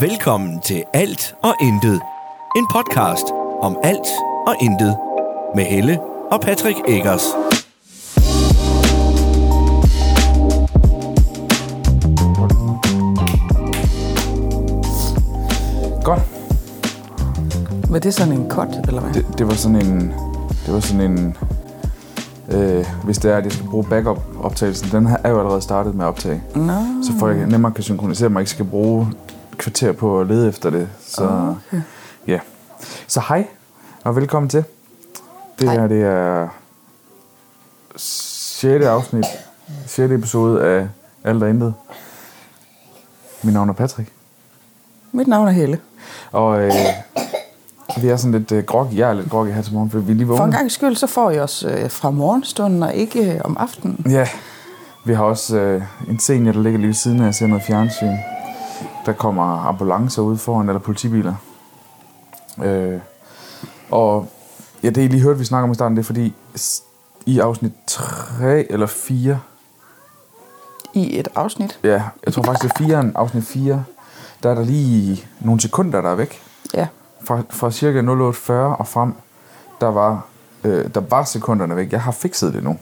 Velkommen til Alt og Intet. En podcast om alt og intet. Med Helle og Patrick Eggers. Godt. Var det sådan en kot, eller hvad? Det, det var sådan en... Det var sådan en... Øh, hvis det er, at jeg skal bruge backup-optagelsen, den her er jo allerede startet med at optage. Nå, Så folk nemmere kan synkronisere mig, ikke skal bruge et kvarter på at lede efter det. Så okay. ja. Så hej, og velkommen til. Det Hej. her, det er 6. afsnit, 6. episode af Alt og Intet. Mit navn er Patrick. mit navn er Helle. Og øh, vi er sådan lidt øh, groggy. Jeg er lidt groggy her til morgen, fordi vi er lige vågnede. For en gang skyld, så får I os øh, fra morgenstunden, og ikke øh, om aftenen. Ja, vi har også øh, en senior, der ligger lige ved siden af og ser noget fjernsyn. Der kommer ambulancer ude foran, eller politibiler. Øh, og ja, det I lige hørte, vi snakker om i starten, det er fordi s- i afsnit 3 eller 4, I et afsnit. ja, jeg tror faktisk det er 4'eren, afsnit 4, der er der lige nogle sekunder, der er væk. Ja. Fra, fra cirka 08.40 og frem, der var, øh, der var sekunderne væk. Jeg har fikset det nu. Jeg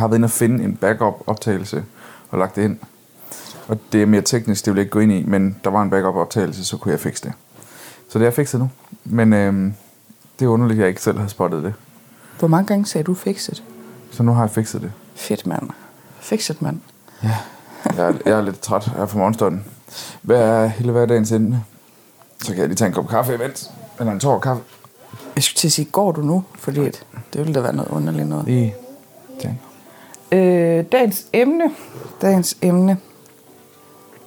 har været inde og finde en backup-optagelse og lagt det ind. Og det er mere teknisk, det vil jeg ikke gå ind i, men der var en backup-optagelse, så kunne jeg fikse det. Så det er fikset nu. Men øh, det er underligt, at jeg ikke selv har spottet det. Hvor mange gange sagde du fikset? Så nu har jeg fikset det. Fedt, mand. Fikset, mand. Ja. Jeg er, jeg er lidt træt her fra morgenstunden. Hvad er hele hverdagens ende? Så kan jeg lige tage en kop kaffe imens. Eller en tår kaffe. Jeg skulle til at sige, går du nu? Fordi at det ville da være noget underligt noget. Lige. Tak. Øh, dagens emne. Dagens emne.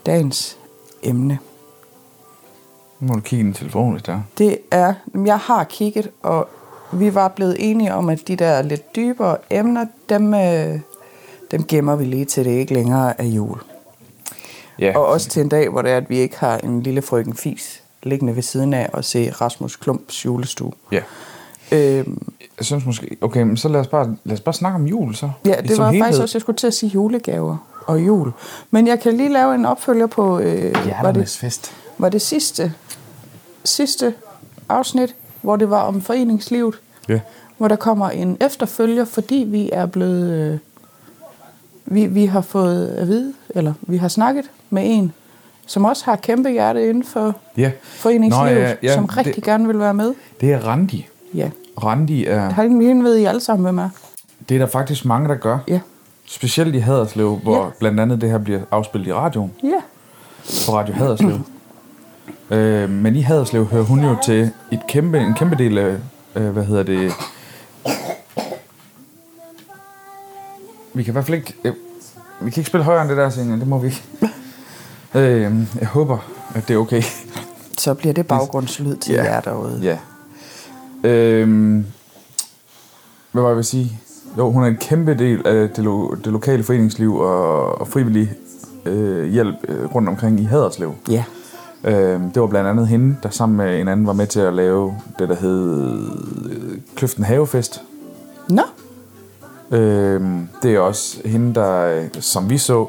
Dagens emne. Nu må du kigge i din telefon, hvis der er. Det er, jeg har kigget, og vi var blevet enige om, at de der lidt dybere emner, dem, øh, dem gemmer vi lige til det ikke længere er jul. Ja. Og også til en dag, hvor det er, at vi ikke har en lille frøken fis liggende ved siden af og se Rasmus Klumps julestue. ja. Øhm, Jeg synes måske... Okay, men så lad os bare, lad os bare snakke om jul, så. ja, I- det som var helhed. faktisk også, jeg skulle til at sige julegaver og jul. Men jeg kan lige lave en opfølger på, øh, var, Hjerternes det, fest. var det sidste, sidste afsnit, hvor det var om foreningslivet. Ja. hvor der kommer en efterfølger, fordi vi er blevet... Øh, vi, vi har fået at vide, eller vi har snakket med en, som også har kæmpe hjerte inden for Ja. foreningslivet, Nå, ja, ja, som det- rigtig gerne vil være med. Det er Randi. Ja. Randi er... Har ikke hende ved I alle sammen, hvem er? Det er der faktisk mange, der gør. Ja. Specielt i Haderslev, hvor Ja. blandt andet det her bliver afspillet i radioen. Ja. På Radio Haderslev. øh, men i Haderslev hører hun jo til et kæmpe, en kæmpe del af... Øh, hvad hedder det? Vi kan i hvert fald ikke... Øh, vi kan ikke spille højere end det der, Senja. Det må vi ikke. øh, jeg håber, at det er okay. Så bliver det baggrundslyd til Ja. jer derude. Ja. Øhm, hvad var jeg vil sige? Jo, hun er en kæmpe del af det, lo- det lokale foreningsliv og, og frivillig øh, hjælp øh, rundt omkring i Haderslev. Ja. Øhm, det var blandt andet hende, der sammen med en anden var med til at lave det, der hed øh, Kløften Havefest. Nå, Øhm, det er også hende, der, øh, som vi så,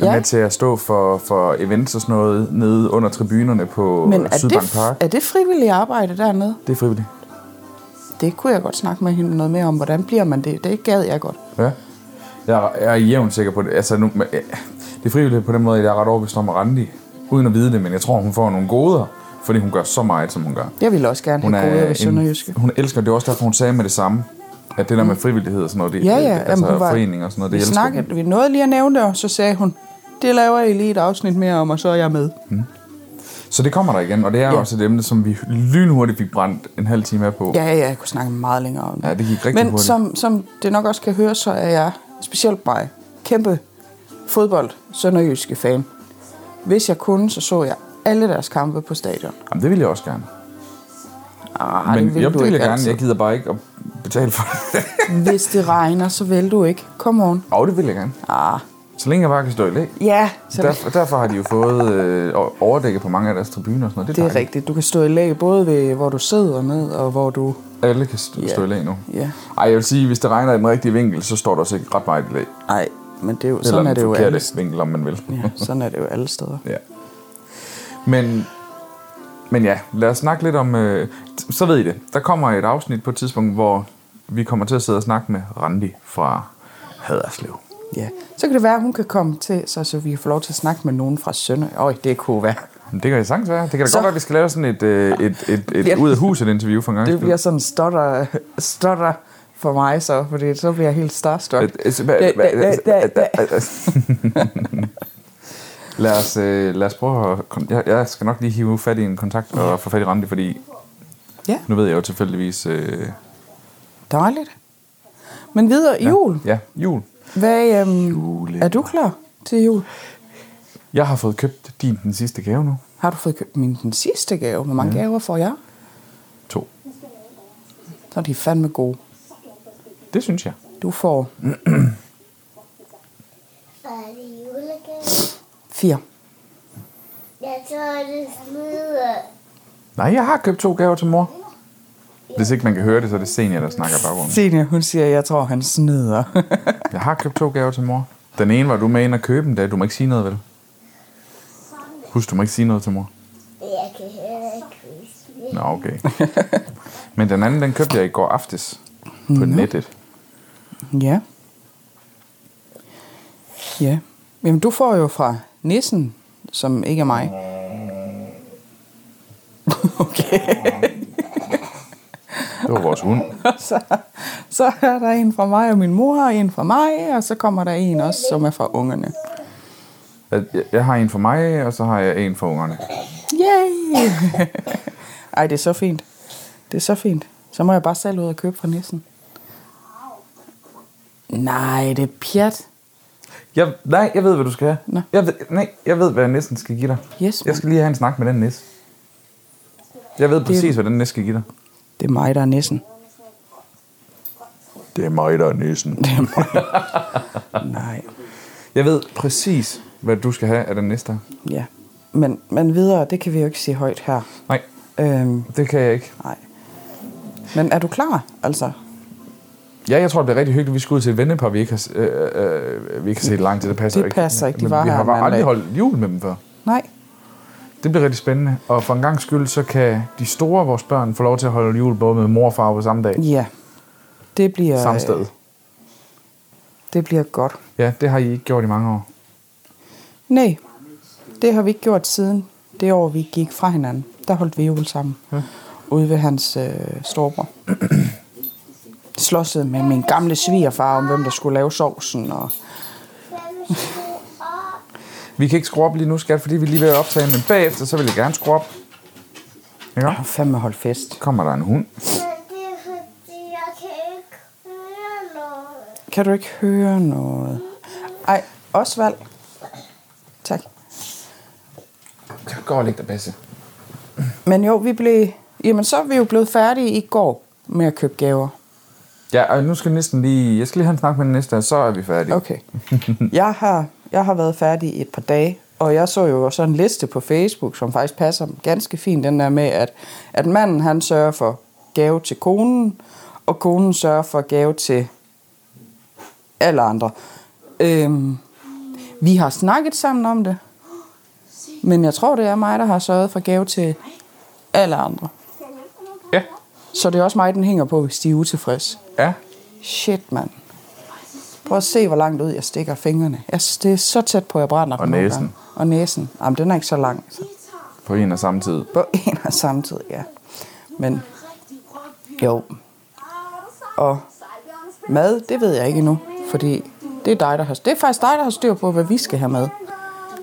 er Ja. med til at stå for, for events og sådan noget nede under tribunerne på men er det, Sydbank Park. er det frivilligt arbejde dernede? Det er frivilligt. Det kunne jeg godt snakke med hende noget mere om. Hvordan bliver man det? Det gad jeg godt. Ja. Jeg, jeg er jævnt sikker på det. Altså, nu, men, ja, det er frivilligt på den måde, at jeg er ret overbevist om at Randi, uden at vide det, men jeg tror, hun får nogle goder, fordi hun gør så meget, som hun gør. Jeg ville også gerne Hun have gode ved Sønderjyske. Mm. en, hun elsker, det er også derfor, hun sagde med det samme, at det der med frivillighed og sådan noget, det, Ja, ja. altså hun forening og sådan noget, det vi elsker snakkede, vi nåede lige at nævne det, og så sagde hun, det laver I lige et afsnit mere om, og så er jeg med. hun. Så det kommer der igen, og det er Ja. ja. også et emne, som vi lynhurtigt fik brændt en halv time af på. Ja, ja, jeg kunne snakke meget længere om det. Ja, det gik rigtig Men hurtigt. som, som det nok også kan høre, så er jeg, specielt mig, kæmpe fodbold sønderjyske fan. Hvis jeg kunne, så så jeg alle deres kampe på stadion. Jamen, det vil jeg også gerne. Arh, men det vil jo, du det vil ikke altså. jeg gerne. altid. Jeg gider bare ikke at betale for det. Hvis det regner, så vil du ikke. Kom on. Og det vil jeg gerne. Ah, Så længe jeg bare kan stå i læ. ja, så det, Derfor, derfor har de jo fået øh, overdækket på mange af deres tribuner og sådan noget. det er dejligt. rigtigt. Du kan stå i lag både ved, hvor du sidder ned, og hvor du... Alle kan stå, Ja. stå i læ nu. Ja. Ej, jeg vil sige, hvis det regner i den rigtige vinkel, så står der også ikke ret meget i læ. Nej, men det er jo, Eller sådan er den det jo alle forkerte vinkel, om man vil. Ja, sådan er det jo alle steder. ja. Men, men ja, lad os snakke lidt om... Øh, t- så ved I det. Der kommer et afsnit på et tidspunkt, hvor vi kommer til at sidde og snakke med Randi fra Haderslev. Ja. Så kan det være, at hun kan komme til, så, så vi kan få lov til at snakke med nogen fra Sønder. Øj, det kunne være. Men det kan det sagtens være. Det kan da Så- godt være, at vi skal lave sådan et, øh, et, et, et, Ja. et ud af huset interview for en gang. Det bliver sådan stotter, stotter for mig så, fordi så bliver jeg helt Øh, starstruck. altså, Lad os, øh, lad os prøve at... kon- Jeg, jeg skal nok lige hive fat i en kontakt og få fat i Randi, fordi Ja, nu ved jeg jo tilfældigvis... Øh, dejligt. Men videre, ja. jul. Ja, jul. Hvad, øhm, Jule. er du klar til jul? Jeg har fået købt din den sidste gave nu. Har du fået købt min den sidste gave? Hvor mange ja. gaver får jeg? To. Så er de fandme gode. Det synes jeg. Du får Var det julegave? fire. Jeg tror, det smider. Nej, jeg har købt to gaver til mor. Hvis ikke man kan høre det, så er det senior, der snakker i baggrunden. Senior, hun siger, jeg tror, han snyder. Jeg har købt to gaver til mor. Den ene var du med ind og købe den, da du må ikke sige noget, vel? Husk, du må ikke sige noget til mor. Jeg kan heller ikke huske det. Nå, okay. Men den anden, den købte jeg i går aftes på nettet. ja. Ja. Jamen, du får jo fra nissen, som ikke er mig. Okay. Det var vores hund. så, så er der en fra mig og min mor, og en fra mig, og så kommer der en også, som er fra ungerne. Jeg- Jeg har en for mig, og så har jeg en for ungerne. Yay! Ej, det er så fint. Det er så fint. Så må jeg bare selv ud og købe fra nissen. Nej, det er pjat. Jeg, nej, jeg ved, hvad du skal have. Nå. Jeg ved, nej, jeg ved, hvad jeg næsten skal give dig. Yes, jeg mand. skal lige have en snak med den næs. Jeg ved præcis, hvad den næs skal give dig. Det er mig, der er nissen. Det er mig, der er næsen. Det er mig. Nej, Jeg ved præcis, hvad du skal have af den næste. ja. Men, men videre, det kan vi jo ikke sige højt her. Nej, Øhm, det kan jeg ikke. nej. Men er du klar, altså? Ja, jeg tror, det bliver rigtig hyggeligt. Vi skal ud til et vennepar, vi ikke har, øh, øh, vi ikke har set lang tid. Det passer Det ikke. passer ikke. De Men var vi her har bare mandag. aldrig holdt jul med dem før. Nej. Det bliver rigtig spændende. Og for en gang skyld, så kan de store, vores børn, få lov til at holde jul både med mor og far på samme dag. Ja. Det bliver... øh, Samme sted. Det bliver godt. Ja, det har I ikke gjort i mange år. Nej, det har vi ikke gjort siden det år, vi gik fra hinanden. Der holdt vi jul sammen ja. ude ved hans øh, storbror. Slåsset med min gamle svigerfar om, hvem der skulle lave sovsen. Og... Fem, to, op. Vi kan ikke skrue op lige nu, skat, fordi vi er lige ved at optage, men bagefter, så vil jeg gerne skrue op. Ja, Og fandme holdt fest. kommer der en hund. Men det er fordi, jeg kan ikke høre noget. Kan du ikke høre noget? Ej, Osvald. Tak. Jeg går og læg dig, Basse. Men jo, vi blev... Jamen, så er vi jo blevet færdige i går med at købe gaver. Ja, og nu skal jeg næsten lige... Jeg skal lige have en snak med den næste, og så er vi færdige. Okay. Jeg har, jeg har været færdig i et par dage, og jeg så jo sådan en liste på Facebook, som faktisk passer ganske fint, den der med, at, at manden han sørger for gave til konen, og konen sørger for gave til alle andre. Øhm, vi har snakket sammen om det, men jeg tror, det er mig, der har sørget for gave til alle andre. Ja. Så det er også mig, den hænger på, hvis de er utilfredse. Ja. Shit, mand. Prøv at se, hvor langt ud jeg stikker fingrene. Jeg, det er så tæt på, jeg brænder. Og nogle næsen. gange. Og næsen. Jamen, den er ikke så lang. Så På en og samme tid. på en og samme tid, ja. Men jo. Og mad, det ved jeg ikke endnu. Fordi det er, dig, der har, det er faktisk dig, der har styr på, hvad vi skal have med.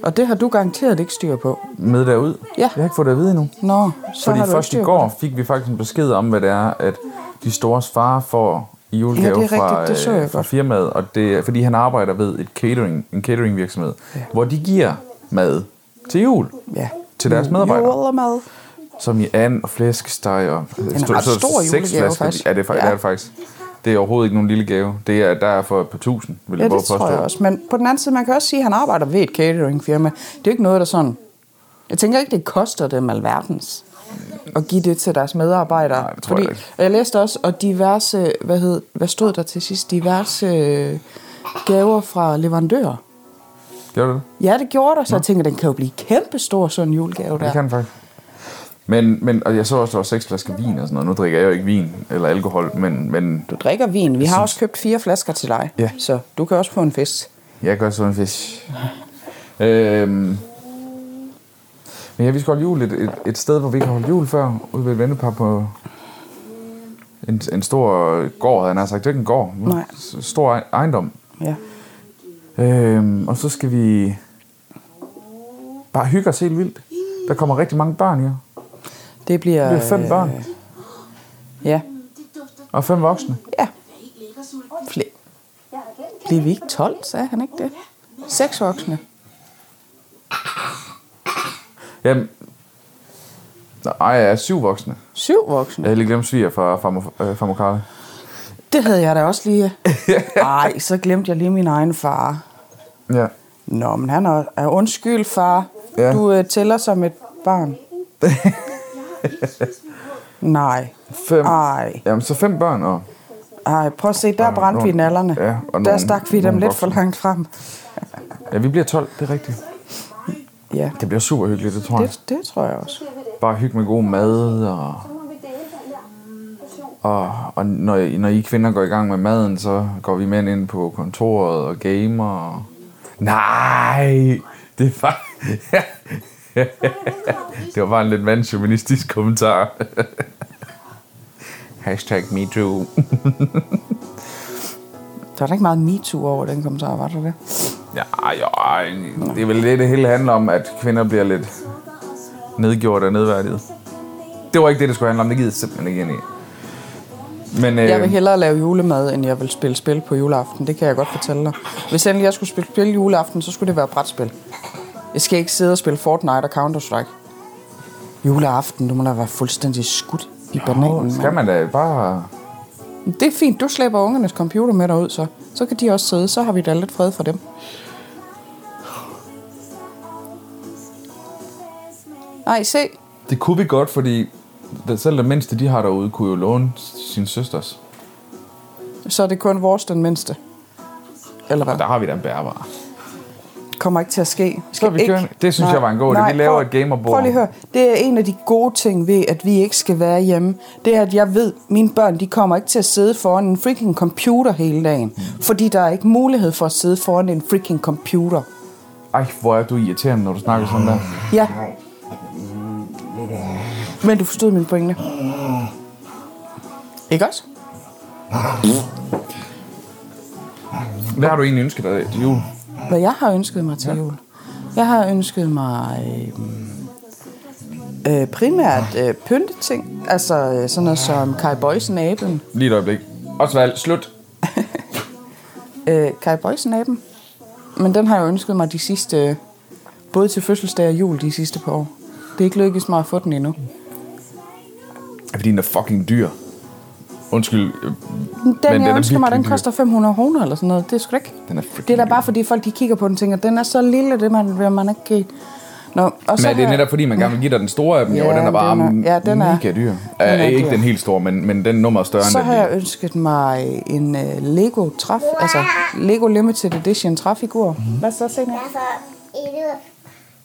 Og det har du garanteret ikke styr på. Med derud. Ja. Jeg har ikke fået det at vide endnu. Nå, så Fordi har du ikke først i styr på går det. fik vi faktisk en besked om, hvad det er, at de stores far får i julegave Ja, det er fra, rigtigt. Det så jeg øh, godt. fra firmaet, og det er, fordi han arbejder ved et catering, en cateringvirksomhed, ja. hvor de giver mad til jul Ja. til deres medarbejdere. Jul og mad. Som i and og flæskesteg og øh, ret så- så- stor seks julegave, flasker. faktisk. Ja, det er, fa- Ja. det er det faktisk. Det er overhovedet ikke nogen lille gave. Det er der er for et par tusind, vil Ja, jeg det våge at tror jeg påstå. også. Men på den anden side, man kan også sige, at han arbejder ved et cateringfirma. Det er jo ikke noget, der sådan... Jeg tænker ikke, det koster dem alverdens at give det til deres medarbejdere. Nej, det tror jeg Fordi- ikke. og jeg læste også, og diverse, hvad, hed, hvad stod der til sidst? Diverse øh, gaver fra leverandører. Gjorde du det? Ja, det gjorde der, så jeg tænker, den kan jo blive kæmpestor, sådan en julegave Det der. kan den faktisk. Men, men og jeg så også, der var seks flasker vin og sådan noget. Nu drikker jeg jo ikke vin eller alkohol, men, men Du drikker vin. Vi har også købt fire flasker til dig, Ja. så du kan også få en fest. jeg gør sådan en fisk. Øhm, men ja, vi skal holde jul et, et, et sted, hvor vi ikke har holdt jul før, ude ved et vennepar på en, en stor gård, havde jeg nær sagt. Det er ikke en gård, men Nej. en stor ej- ejendom. Ja. Øhm, og så skal vi bare hygge os helt vildt. Der kommer rigtig mange børn, ja. Det bliver... Det er fem øh, børn Ja. og fem voksne. Ja. Fle. Bliver vi ikke 12, sagde han ikke det? Seks voksne. Jamen, nej, jeg er syv voksne. Syv voksne. Jeg havde lige glemt sviger fra, fra, øh, fra Mokale. Det havde jeg da også lige. Ej, så glemte jeg lige min egen far. Ja. Nå, men han er, er undskyld, far. Ja. Du øh, tæller som et barn. Nej. Fem. Ej. Jamen, så fem børn og... Ej, prøv at se, der og brændte vi nogle- nallerne. Ja, og der nogle- stak vi dem nogle lidt for voksne. langt frem. Ja, vi bliver 12, det er rigtigt. Ja, Det bliver super hyggeligt, det tror jeg. det, det tror jeg også. Bare hygge med god mad og... Og, og når, I- når I kvinder går i gang med maden, så går vi mænd ind på kontoret og gamer og... Nej! Det er bare... det var bare en lidt mandsjuministisk kommentar. Hashtag me too. Der var da ikke meget MeToo over den kommentar, var der det? Ja, jo, ej, det er vel det, det hele handler om, at kvinder bliver lidt nedgjort og nedværdiget. Det var ikke det, det skulle handle om. Det gider jeg simpelthen ikke ind i. Men, øh, Jeg vil hellere lave julemad, end jeg vil spille spil på juleaften. Det kan jeg godt fortælle dig. Hvis endelig jeg skulle spille spil juleaften, så skulle det være brætspil. Jeg skal ikke sidde og spille Fortnite og Counter-Strike. Juleaften, du må da være fuldstændig skudt i bananen. Skal mand. man da bare... Det er fint, du slæber ungernes computer med derud, så. Så kan de også sidde, så har vi da lidt fred for dem. Nej, se. Det kunne vi godt, fordi det- selv det mindste, de har derude, kunne jo låne sin søsters. Så er det kun vores den mindste. Eller hvad? Og der har vi da en bærbar. kommer ikke til at ske. Så er vi kørende. Det synes jeg var en god idé. Vi laver et gamerbord. Prøv lige at høre. Det er en af de gode ting ved, at vi ikke skal være hjemme. Det er, at jeg ved, at mine børn de kommer ikke til at sidde foran en freaking computer hele dagen. Fordi der er ikke mulighed for at sidde foran en freaking computer. Ej, hvor er du irriterende, når du snakker sådan der. Ja. Men du forstod min pointe. Ikke også? Hvad har du egentlig ønsket dig til jul? Hvad jeg har ønsket mig til jul? Jeg har ønsket mig øh, øh, primært øh, pynteting. Altså øh, sådan noget som Kai Boysen-aben. Lige et øjeblik. Osvald, slut. øh, Kai Boysen-aben. Men den har jeg ønsket mig de sidste, både til fødselsdag og jul de sidste par år. Det er ikke lykkedes mig at få den Mm. endnu. Er fordi den er fucking dyr. Undskyld. øh, Den, er den jeg ønsker mig, virkelig den dyr. koster 500 kroner eller sådan noget. Det er sgu da ikke. Den er freaking det er da dyr. bare fordi folk de kigger på den og tænker, den er så lille, det man, vil man ikke give. Nå, og Men er har det jeg- netop fordi, man gerne vil give dig den store af dem, ja, jo, og den er bare den er, ja, den er, mega dyr. Den er, er ikke dyr. den helt store, men, men den nummer er større Så end har den jeg lille. ønsket mig en uh, Lego træf, altså Lego Limited Edition træfigur. Mm-hmm. Hvad så, Sena? Altså, endnu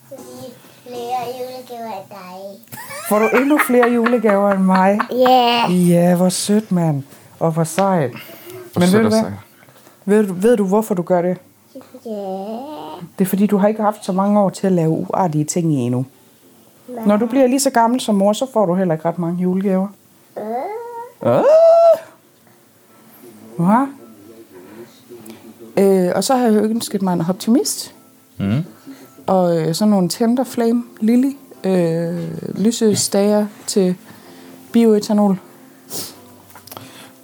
fordi flere julegaver af dig. Får du endnu flere julegaver end mig? Ja. Ja, hvor sødt, mand. Og hvor sejt. Hvor Men ved sætter du hvad? sig. Ved du, ved du, hvorfor du gør det? Ja. Det er, fordi du har ikke haft så mange år til at lave uartige ting i endnu. Når du bliver lige så gammel som mor, så får du heller ikke ret mange julegaver. Oh. Ah! Hva? Øh, og så har jeg jo ønsket mig en optimist. Mm. Og øh, sådan nogle Tender Flame Lily øh, lysestager til bioetanol.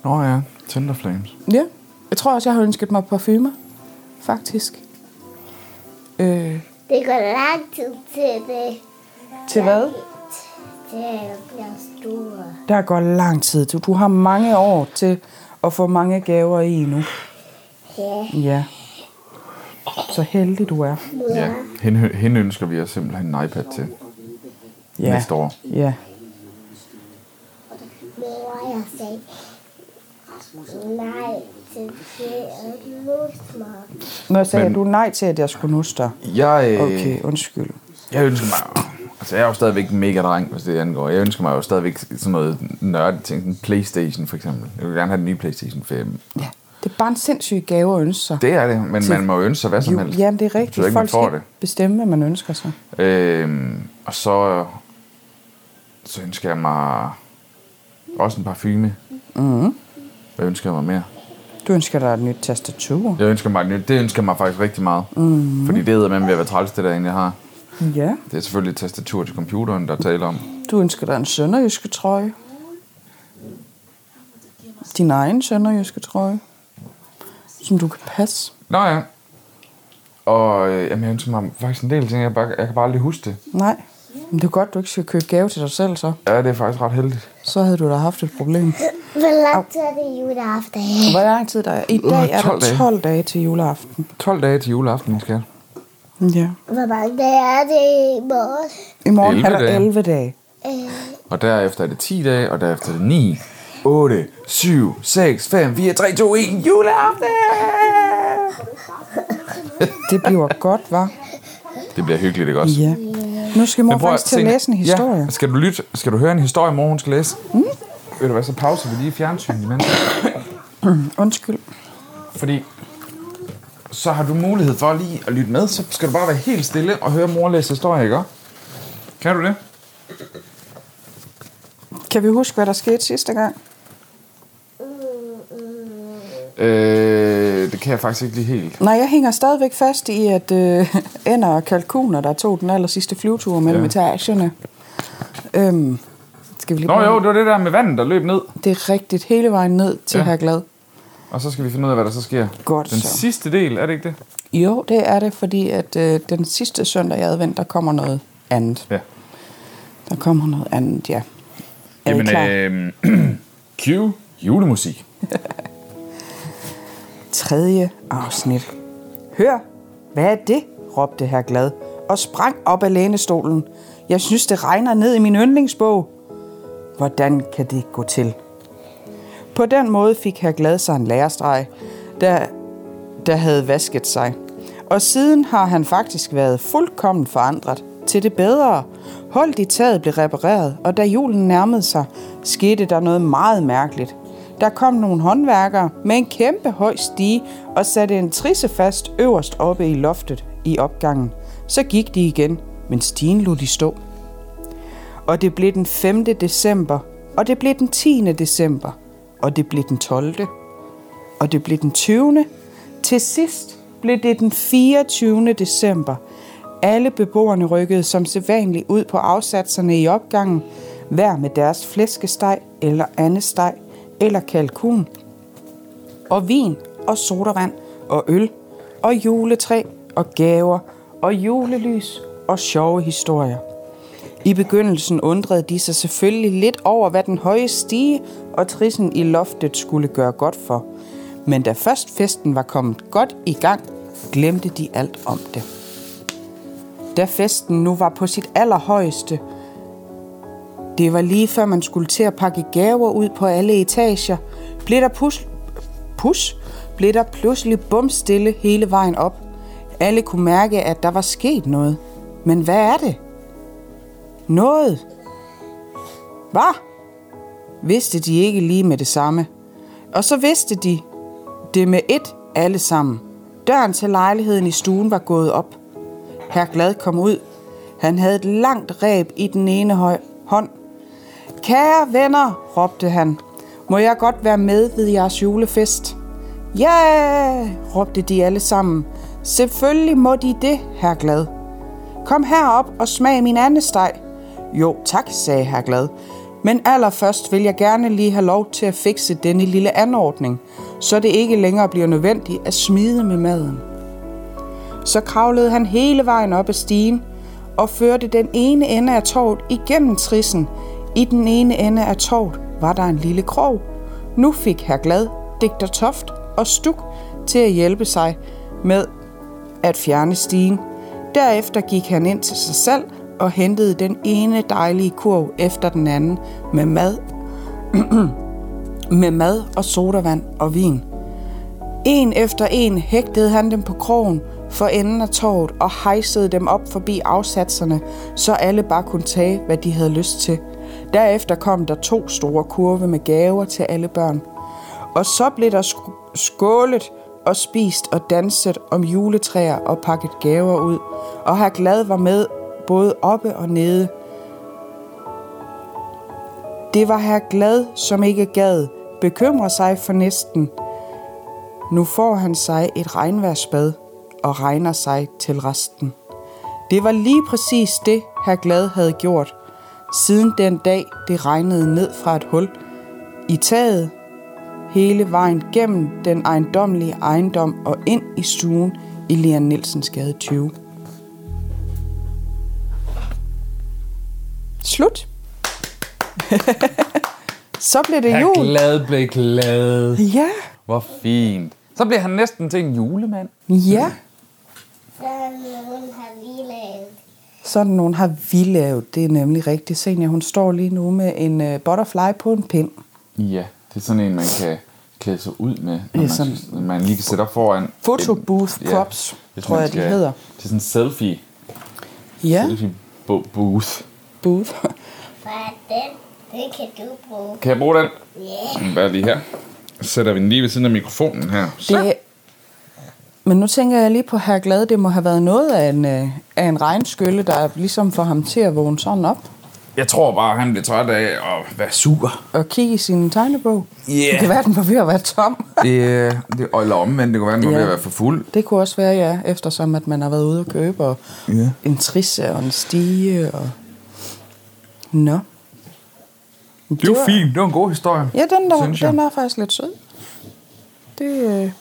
Nå ja, Tinder Flames. Ja. Jeg tror også, jeg har ønsket mig parfumer. Faktisk. Øh, Det går lang tid til det. til hvad? Til jeg bliver stor. Der går lang tid. Du, du har mange år til at få mange gaver i endnu. Ja. Ja. Så heldig du er. Ja, hende, hende ønsker vi os simpelthen en iPad til ja. næste år. Ja. Mor, jeg sagde nej til at nusse mig. Når sagde Men- Men... du nej til, at jeg skulle nusse dig? Jeg, øh, Okay, undskyld. jeg ønsker mig... Altså, jeg er jo stadigvæk mega dreng, hvis det angår. Jeg ønsker mig jo stadigvæk sådan noget nørdet ting. Sådan Playstation, for eksempel. Jeg vil gerne have den nye Playstation 5. Ja, det er bare en sindssyg gave at ønske sig. Det er det, men Til- man må jo ønske sig hvad som helst. Jamen, det er Det betyder rigtigt. ikke, man Folk får skal det. ikke bestemme, hvad man ønsker sig. Øhm, og så, så ønsker jeg mig også en parfume. Mm. Hvad ønsker jeg mig mere? Du ønsker dig et nyt tastatur. Jeg ønsker mig, et nyt- det ønsker jeg mig faktisk rigtig meget. Mm. Fordi det hedder man ved at være træls, det der egentlig har. Ja. Det er selvfølgelig et tastatur til computeren, der taler om. Du ønsker dig en sønderjyske trøje. Din egen sønderjyske trøje. Som du kan passe. Nå ja. Og øh, jamen, jeg ønsker mig faktisk en del ting, jeg, bare, jeg kan bare aldrig huske det. Nej. Men det er godt, du ikke skal købe gave til dig selv, så. Ja, det er faktisk ret heldigt. Så havde du da haft et problem. Hvor lang tid er det juleaften? Hvor lang tid der er? I dag er 12 dage. der 12 dage til juleaften. 12 dage til juleaften, min skat. Ja. Hvor mange dage er det i morgen? I morgen 11 er der dage. 11 dage. Øh, Og derefter er det 10 dage, og derefter er det 9, 8, 7, 6, 5, 4, 3, 2, 1, juleaften! Det bliver godt, var? Det bliver hyggeligt, ikke også? Ja. Nu skal mor Men prøv faktisk til at tænk- læse en historie. Ja, skal du lytte? Skal du høre en historie, mor hun skal læse? Mm. Ved du hvad, så pauser vi lige fjernsynet imens. Undskyld. Fordi så har du mulighed for lige at lytte med. Så skal du bare være helt stille og høre mor læse historie, ikke også? Kan du det? Kan vi huske, hvad der skete sidste gang? Øh, det kan jeg faktisk ikke lige helt. Nej, jeg hænger stadigvæk fast i, at øh, ender og kalkuner, der tog den aller sidste flyvetur mellem Ja. ja. etagerne. Øhm, skal vi lige Nå prøve- jo, det var det der med vandet, der løb ned. Det er rigtigt hele vejen ned til Ja. ja. Glad. Og så skal vi finde ud af, hvad der så sker. Godt Den så. sidste del, er det ikke det? Jo, det er det, fordi at øh, den sidste søndag i advent, der kommer noget andet. Ja. Der kommer noget andet, ja. Er Jamen, I Jamen, klar? øh, Q, julemusik. Tredje afsnit. Hør, hvad er det? råbte herr Glad og sprang op af lænestolen. Jeg synes, det regner ned i min yndlingsbog. Hvordan kan det gå til? På den måde fik herr Glad sig en lærerstreg, der, der havde vasket sig. Og siden har han faktisk været fuldkommen forandret til det bedre. Holdt i taget blev repareret, og da julen nærmede sig, skete der noget meget mærkeligt. Der kom nogle håndværkere med en kæmpe høj stige og satte en trisse fast øverst oppe i loftet i opgangen. Så gik de igen, men stigen lod de stå og det blev den 5. december, og det blev den 10. december, og det blev den 12. Og det blev den 20. Til sidst blev det den 24. december. Alle beboerne rykkede som sædvanligt ud på afsatserne i opgangen, hver med deres flæskesteg eller andesteg eller kalkun, og vin og sodavand og øl og juletræ og gaver og julelys og sjove historier. I begyndelsen undrede de sig selvfølgelig lidt over, hvad den høje stige og trissen i loftet skulle gøre godt for. Men da først festen var kommet godt i gang, glemte de alt om det. Da festen nu var på sit allerhøjeste, det var lige før man skulle til at pakke gaver ud på alle etager, blev der pus, pus, blev der pludselig bumstille hele vejen op. Alle kunne mærke, at der var sket noget. Men hvad er det? Noget? Hvad? Vidste de ikke lige med det samme. Og så vidste de det med et alle sammen. Døren til lejligheden i stuen var gået op. Herr Glad kom ud. Han havde et langt ræb i den ene høj- hånd. Kære venner, råbte han. Må jeg godt være med ved jeres julefest? Ja, råbte de alle sammen. Selvfølgelig må de det, herr Glad. Kom herop og smag min andesteg. Jo, tak, sagde herr Glad. Men allerførst vil jeg gerne lige have lov til at fikse denne lille anordning, så det ikke længere bliver nødvendigt at smide med maden. Så kravlede han hele vejen op ad stigen og førte den ene ende af torvet igennem trissen. I den ene ende af torvet var der en lille krog. Nu fik herr Glad, digter Toft og Stuk til at hjælpe sig med at fjerne stigen. Derefter gik han ind til sig selv og hentede den ene dejlige kurv efter den anden med mad, med mad og sodavand og vin. En efter en hægtede han dem på krogen for enden af torvet og hejsede dem op forbi afsatserne, så alle bare kunne tage, hvad de havde lyst til. Derefter kom der to store kurve med gaver til alle børn. Og så blev der sk- skålet og spist og danset om juletræer og pakket gaver ud. Og her glad var med både oppe og nede. Det var her glad, som ikke gad, bekymre sig for næsten. Nu får han sig et regnværsbad og regner sig til resten. Det var lige præcis det, herr Glad havde gjort, siden den dag det regnede ned fra et hul i taget hele vejen gennem den ejendomlige ejendom og ind i stuen i Leon Nielsens gade 20. Slut. Så blev det Jeg jul. glad blev glad. Ja, Hvor fint. Så bliver han næsten til en julemand. ja. Der er nogen, har lige lavet. Sådan nogen har vi lavet. Det er nemlig rigtigt. Senior, hun står lige nu med en uh, butterfly på en pind. Ja, det er sådan en, man kan klæde sig ud med, når Ja, man, sådan- sådan, man lige kan sætte op foran. Photobooth Ja, props, hvis tror man jeg, de hedder. Det er sådan en selfie, Ja, selfie bo- booth. booth. Hvad er den? Den kan du bruge. Kan jeg bruge den? Ja. Bare lige her. Så sætter vi den lige ved siden af mikrofonen her. Det, men nu tænker jeg lige på herr Glad. Det må have været noget af en, uh, af en regnskylle, der ligesom får ham til at vågne sådan op Jeg tror bare, han bliver træt af at være sur. og kigge i sin tegnebog. Ja. Det kan være, den var ved at være tom. Det, øh, det, eller omvendt, det kunne være, at han var Ja. ved at være for fuld. Det kunne også være, ja, eftersom at man har været ude at købe, og Ja. en trisse og en stige. Og... Nå. Det var fint. Det var en god historie. Ja, den, synes der, jeg. den er faktisk lidt sød. Det er øh,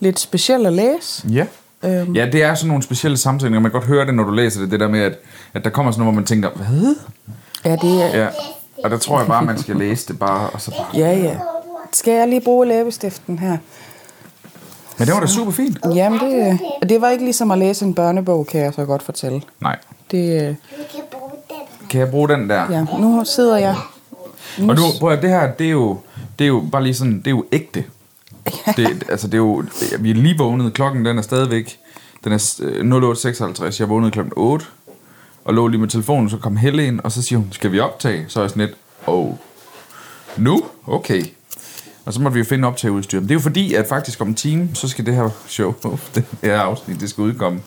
lidt specielt at læse. Ja. Øhm. Øhm. Ja, det er sådan nogle specielle samtaler. Man kan godt høre det, når du læser det. Det der med, at, at der kommer sådan noget, hvor man tænker, hvad? Ja, det er... Ja. Og der tror jeg bare, man skal læse det bare. Og så bare. Ja, ja. Skal jeg lige bruge læbestiften her? Men det var da super fint. Jamen, det, øh, og det var ikke ligesom at læse en børnebog, kan jeg så godt fortælle. Nej. Det, øh, Du kan bruge den. Kan jeg bruge den der? ja, nu sidder jeg... Og nu, prøv at, det her, det er jo, det er jo bare lige sådan, det er jo ægte. Det, altså, det er jo, det, vi er lige vågnet, klokken den er stadigvæk, den er øh, 08.56, jeg vågnede klokken 8, og lå lige med telefonen, så kom Helle ind, og så siger hun, skal vi optage? Så er jeg sådan lidt, oh, nu? Okay. Og så måtte vi jo finde optageudstyr. Men det er jo fordi, at faktisk om en time, så skal det her show, det her afsnit, det skal udkomme.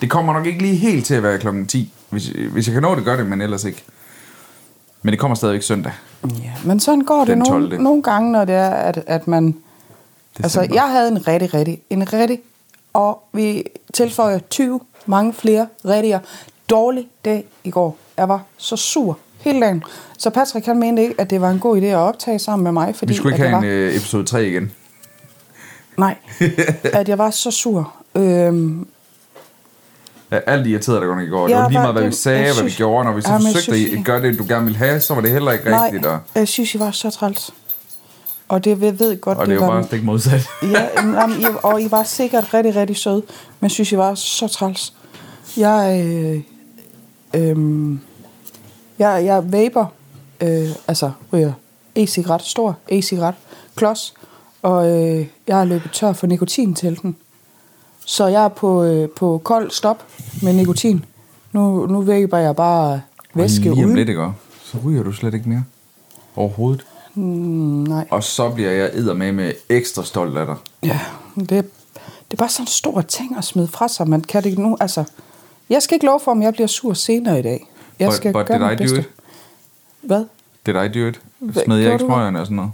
Det kommer nok ikke lige helt til at være klokken 10. Hvis, hvis jeg kan nå det, gør det, men ellers ikke. Men det kommer stadigvæk søndag. Ja, men sådan går det Den nogle, 12.. nogle gange, når det er, at, at man... Altså, December. jeg havde en rigtig, rigtig, en rigtig, og vi tilføjer 20, mange flere rigtige. Dårlig dag i går. Jeg var så sur hele dagen. Så Patrick, han mente ikke, at det var en god idé at optage sammen med mig, fordi Vi skulle ikke at jeg have øh, en var... øh, episode 3 igen. Nej, at jeg var så sur. Øhm, Ja, alt irriterede dig godt nok i går. Jeg det var lige var- meget, hvad vi det- sagde, jeg hvad vi synes- gjorde. Når vi så Jamen, jeg synes, forsøgte I- at gøre det, du gerne ville have, så var det heller ikke nej, rigtigt. Og, jeg synes, I var så træls. Og det jeg ved godt, og det er jo var... bare stik modsat. Ja, jamen, I, og I var sikkert rigtig, rigtig søde, men jeg synes, I var så træls. Jeg, øh, øh, jeg, jeg vaper, øh, altså ryger e-cigaret, stor e-cigaret, klods, og øh, jeg er løbet tør for nikotin til den. Så jeg er på, øh, på kold stop med nikotin. Nu, nu vaper jeg bare væske lige om uden. lidt, ikke? Så ryger du slet ikke mere. Overhovedet. Mm, nej. Og så bliver jeg med med ekstra stolt af dig. Ja, det, det er bare sådan en stor ting at smide fra sig. Man kan det ikke nu, altså... Jeg skal ikke love for, om jeg bliver sur senere i dag. Jeg But- skal but gøre did mit I do bedste. it? Hvad? Det er dig, dyrt. Hvad Smed jeg gjorde ikke du? smøgerne og sådan noget?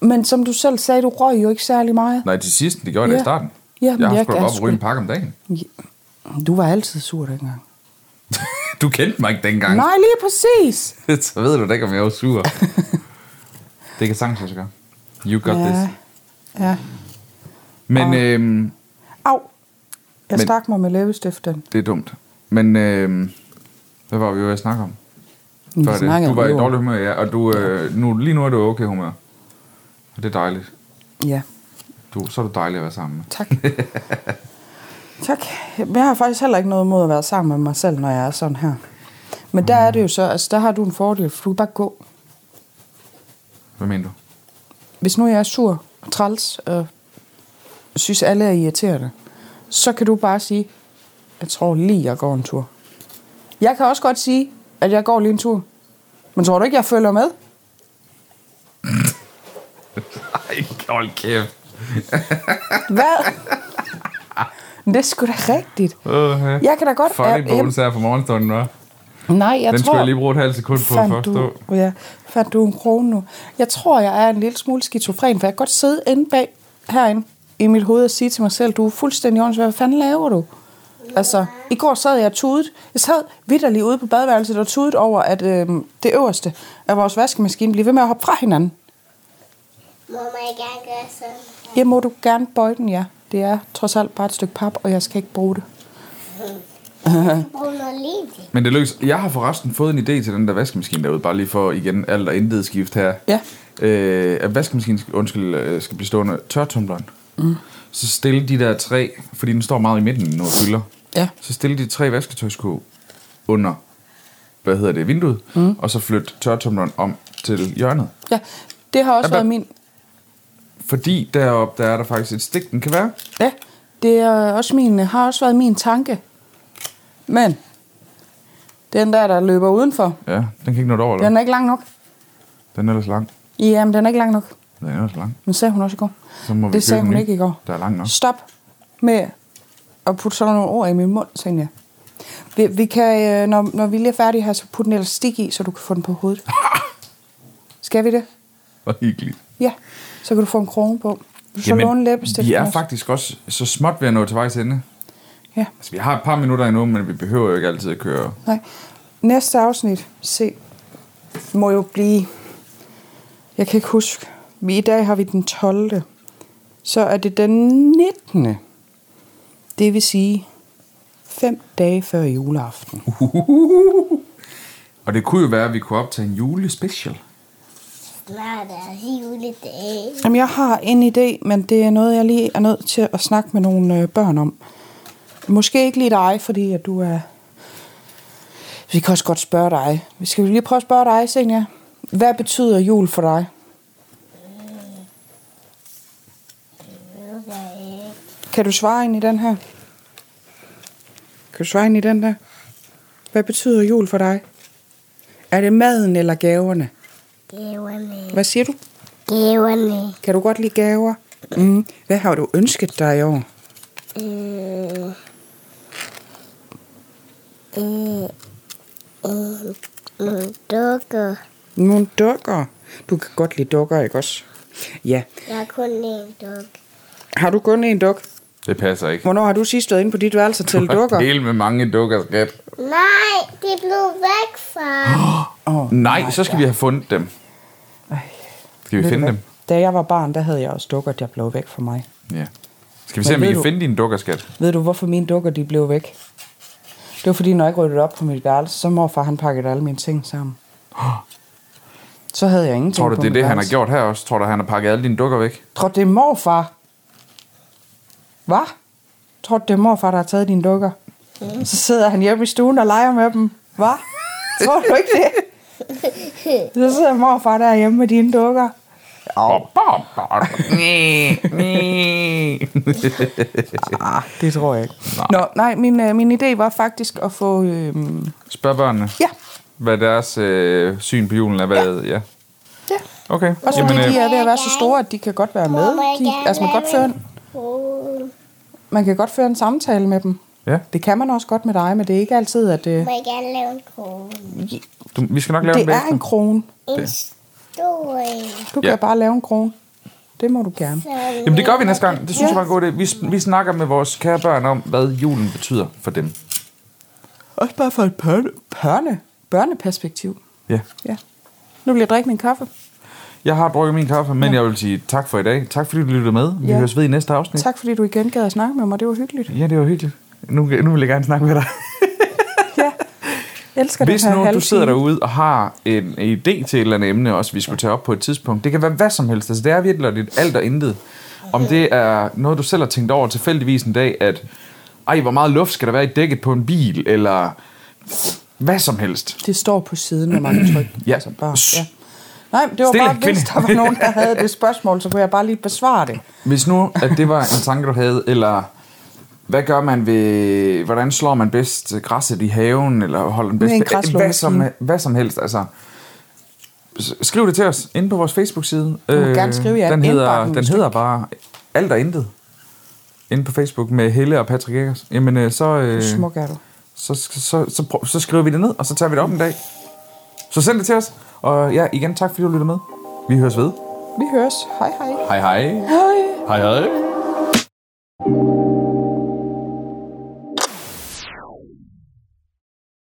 Men som du selv sagde, du røg jo ikke særlig meget. Nej, til sidst. Det gjorde jeg da Ja. i starten. Ja, men jeg har jeg sgu da kan op og sgu- ryge en pakke om dagen. Du var altid sur dengang. Du kendte mig ikke dengang. Nej, lige præcis! så ved du da ikke, om jeg var sur. det kan sagtens lade sig gøre. You got ja. this. ja. Men øhm, Au! Jeg Men- stak mig med læbestiften. det er dumt. Men øhm, hvad var vi jo at snakke om? Vi Før det. snakkede Du om var i jord. dårlig humør, ja. Og du, øh, nu, lige nu er du i okay humør. Og det er dejligt. Ja, Du, så er du dejlig at være sammen med. tak. tak. Men jeg har faktisk heller ikke noget mod at være sammen med mig selv, når jeg er sådan her. Men der er det jo så, altså der har du en fordel, for du kan bare gå. Hvad mener du? hvis nu jeg er sur og træls og synes alle er irriterende, så kan du bare sige, jeg tror lige, jeg går en tur. Jeg kan også godt sige, at jeg går lige en tur. Men tror du ikke, jeg følger med? Ej, hold kæft. Hvad? Men det er sgu da rigtigt. Uh-huh. Jeg kan da godt... Fuck, jeg- bonus her for morgenstunden, hva'? nej, jeg Den tror... skulle jeg lige bruge et halvt sekund på at fandt forstå. du, ja, fandt du en krone nu? Jeg tror, jeg er en lille smule skizofren, for jeg kan godt sidde inde bag herinde i mit hoved og sige til mig selv, du er fuldstændig åndssvær. Hvad fanden laver du? Altså, i går sad jeg og tudet. Jeg sad vidderligt ude på badeværelset og tudet over, at øh, det øverste af vores vaskemaskine bliver ved med at hoppe fra hinanden. Må man ikke gerne gøre sådan? Jeg må du gerne bøje den, ja. Det er trods alt bare et stykke pap, og jeg skal ikke bruge det. Brug noget liv. Men det lykkes. Jeg har forresten fået en idé til den der vaskemaskine derude, bare lige for igen alt og intet skift her. Ja. Øh, at vaskemaskinen skal, undskyld, øh, skal blive stående tørtumbleren. Mm. Så stille de der tre, fordi den står meget i midten, når du fylder. Ja. Så stille de tre vasketøjsko under, hvad hedder det, vinduet, mm. og så flyt tørtumbleren om til hjørnet. Ja, det har også Hvad- været min... Fordi deroppe, der er der faktisk et stik, den kan være. Ja, det er også min, har også været min tanke. Men den der, der løber udenfor, Ja, den kan ikke nå det over, eller? den er ikke lang nok. den er ellers lang. Jamen, den er ikke lang nok. Den er ellers lang. Men sagde hun også i går. Så må vi det købe sagde en hun ny, ikke i går. der er lang nok. Stop med at putte sådan nogle ord i min mund, Senja. Vi, vi kan, øh, når, når vi lige er færdige her, så putte en elastik i, så du kan få den på hovedet. Skal vi det? Og hyggeligt. Ja. Så kan du få en krone på. Du så låne læbestift. vi er også. faktisk også så småt ved at nå til vejs ende. Ja. Altså, vi har et par minutter endnu, men vi behøver jo ikke altid at køre. Nej. Næste afsnit, se, må jo blive... Jeg kan ikke huske. Vi, I dag har vi den 12. Så er det den 19. Det vil sige fem dage før juleaften. Uh. Og det kunne jo være, at vi kunne optage en julespecial. Snart er juledag. Jamen, jeg har en idé, men det er noget, jeg lige er nødt til at snakke med nogle øh, børn om. Måske ikke lige dig, fordi at du er... Vi kan også godt spørge dig. Vi skal lige prøve at spørge dig, Senja. Hvad betyder jul for dig? Ved jeg ikke. Kan du svare ind i den her? Kan du svare ind i den der? Hvad betyder jul for dig? Er det maden eller gaverne? Gaverne. Hvad siger du? Gaverne. Kan du godt lide gaver? Mm. Hvad har du ønsket dig i år? Øh. Øh. Øh. Nogle dukker. Nogle dukker. Du kan godt lide dukker, ikke også? Ja. Jeg har kun en duk. Har du kun en duk? Det passer ikke. Hvornår har du sidst været inde på dit værelse til Og dukker? Del med mange dukker, skat. Nej, det blev væk fra. Oh, Nej, så skal vi have fundet dem. Skal vi finde dem? Da jeg var barn, der havde jeg også dukker, der blev væk fra mig. Ja. Skal vi se, om vi ved kan du- finde dine dukker, skat? Ved du, hvorfor mine dukker de blev væk? Det var fordi, når jeg ryddede op på mit værelse, så morfar han pakkede alle mine ting sammen. Så havde jeg ingenting Tror du, på det er mit det, han har værelse. gjort her også? Tror du, han har pakket alle dine dukker væk? Tror du, det er morfar? Hvad? Tror du, det er morfar, der har taget dine dukker? Så sidder han hjemme i stuen og leger med dem. Hvad? Tror du ikke det? Så sidder morfar derhjemme med dine dukker. Oh. Ah, det tror jeg ikke. Nå, nej, min, øh, min idé var faktisk at få... Øh, Spørg børnene, ja, hvad deres øh, syn på julen er. Hvad, ja. ja. Okay. Også fordi øh, de er ved at være så store, at de kan godt være med. De, altså man, kan godt føre en, Oh, man kan godt føre en samtale med dem. ja. Det kan man også godt med dig, men det er ikke altid, at... Øh, må jeg gerne lave en krone. Du, vi skal nok lave det det er en krone. En Det. stor en. Du Ja. kan bare lave en krone. Det må du gerne. Så Jamen det gør vi næste gang. Det synes Ja. jeg var en god idé. Vi, sn- vi snakker med vores kære børn om, hvad julen betyder for dem. Også bare fra et børne, børne, børneperspektiv. Ja. Ja. Nu vil jeg drikke min kaffe. Jeg har drukket min kaffe, men jeg vil sige tak for i dag. Tak fordi du lyttede med. Vi Ja. høres ved i næste afsnit. Tak fordi du igen gad at snakke med mig. Det var hyggeligt. Ja, det var hyggeligt. Nu, nu vil jeg gerne snakke med dig. Ja. Jeg elsker Hvis den her nu halve du sidder time. derude og har en idé til et eller andet emne også, vi skulle tage op på et tidspunkt. Det kan være hvad som helst. Altså, det er virkelig lidt alt og intet. Om det er noget, du selv har tænkt over tilfældigvis en dag, at ej, hvor meget luft skal der være i dækket på en bil, eller hvad som helst. Det står på siden af mange tryk. Ja. Altså bare, ja. Nej, det var Stille, bare, hvis kvinde. der var nogen, der havde det spørgsmål, så kunne jeg bare lige besvare det. Hvis nu, at det var en tanke, du havde, eller hvad gør man ved, hvordan slår man bedst græsset i haven, eller holder den bedst Med en ved- græsslåmaskine. hvad, som, hvad som helst, altså. S- Skriv det til os inde på vores Facebook-side. Du må gerne skrive, ja. den hedder, Indbakken, den hvis du hedder bare Alt og Intet. Inde på Facebook med Helle og Patrick Eggers. Jamen, øh, så, øh, Hvor smuk er du. så, så, så, så, prøv- så skriver vi det ned, og så tager vi det op en dag. Så send det til os. Og ja, igen tak fordi du lyttede med. Vi høres ved. Vi høres. Hej hej. Hej hej. Hej. Hej hej.